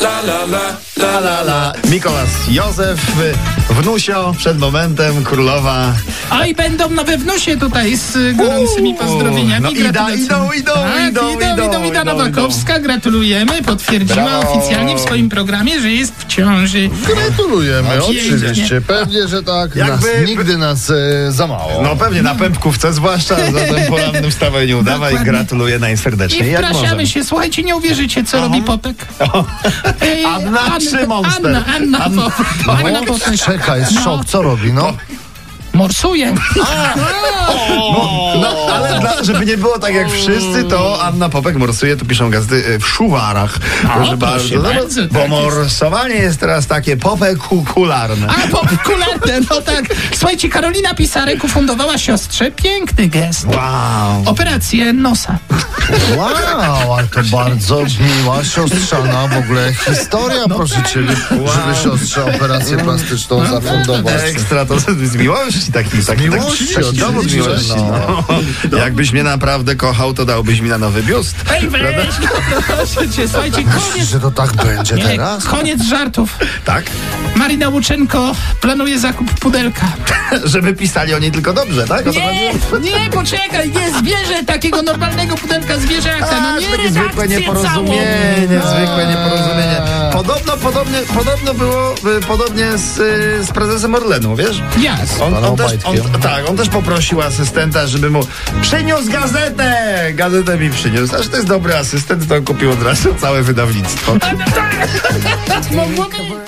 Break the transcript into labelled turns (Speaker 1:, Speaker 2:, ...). Speaker 1: la la la la la.
Speaker 2: Mikołas Józef, Wnusio, przed momentem królowa.
Speaker 3: A i będą na wewnusie tutaj z y, gorącymi
Speaker 2: Uuu,
Speaker 3: pozdrowieniami.
Speaker 2: no i da-
Speaker 3: gratulacjami.
Speaker 2: idą, idą,
Speaker 3: tak,
Speaker 2: idą,
Speaker 3: idą,
Speaker 2: idą,
Speaker 3: idą, Ida
Speaker 2: idą,
Speaker 3: Nowakowska, gratulujemy. Potwierdziła
Speaker 2: Brawo.
Speaker 3: oficjalnie w swoim programie, że jest w ciąży.
Speaker 4: Gratulujemy,
Speaker 3: Pięknie.
Speaker 4: oczywiście. Pewnie, że tak.
Speaker 2: Jakby-
Speaker 4: Nas, nigdy nas e, za mało.
Speaker 2: No pewnie na pępkówce, zwłaszcza zatem porannym wstawaniu udawa i
Speaker 3: Dokładnie.
Speaker 2: gratuluję
Speaker 3: I
Speaker 2: najserdeczniej. jak
Speaker 3: wpraszamy
Speaker 2: możemy.
Speaker 3: się. Słuchajcie, nie uwierzycie, co robi Popek. Ej,
Speaker 2: Anna czy Monster?
Speaker 3: Anna, Anna,
Speaker 2: Anna- No,
Speaker 3: Popek. Anna Popek.
Speaker 4: Czeka, jest szok, co robi, no?
Speaker 3: Morsuje.
Speaker 2: No, ale dla, żeby nie było tak jak wszyscy, to Anna Popek morsuje, tu piszą gazdy e, w szuwarach.
Speaker 3: proszę bardzo, tak
Speaker 2: bo
Speaker 3: jest.
Speaker 2: morsowanie jest teraz takie popekularne.
Speaker 3: A, popkularne, no tak. Słuchajcie, Karolina Pisarek ufundowała siostrze piękny gest.
Speaker 2: Wow.
Speaker 3: Operację nosa.
Speaker 4: Wow, ale to bardzo miła siostrzana w ogóle historia, proszę cię, żeby siostrze operację plastyczną zafundować.
Speaker 2: Ekstra, to z miłości taki, taki
Speaker 4: miłości,
Speaker 2: taki, dowód
Speaker 4: oczywiście,
Speaker 2: miłości. No. Jakbyś mnie naprawdę kochał, to dałbyś mi na nowy biust.
Speaker 3: Ej, weź, no, proszę cię, słuchajcie,
Speaker 4: Myślisz,
Speaker 3: koniec.
Speaker 4: że to tak będzie
Speaker 3: Nie,
Speaker 4: teraz?
Speaker 3: koniec żartów.
Speaker 2: Tak?
Speaker 3: Marina Łuczenko planuje zakup pudelka.
Speaker 2: Żeby pisali o niej tylko dobrze, tak? O to chodzi?
Speaker 3: Nie, nie, poczekaj, nie, zwierzę, takiego normalnego pudelka zwierzaka.
Speaker 2: A,
Speaker 3: No nie,
Speaker 2: Tak, takie zwykłe
Speaker 3: redakcję całą.
Speaker 2: nieporozumienie, zwykłe nieporozumienie. Podobno, podobnie, podobno było y, podobnie z, y, z prezesem Orlenu, wiesz?
Speaker 3: Jas.
Speaker 2: On, on,
Speaker 4: Paną
Speaker 2: też, on,
Speaker 4: Obajtkiem.
Speaker 2: tak, on też poprosił asystenta, żeby mu przyniósł gazetę. Gazetę mi przyniósł. Aż to jest dobry asystent, to on kupił od razu całe wydawnictwo.
Speaker 3: Mogłoby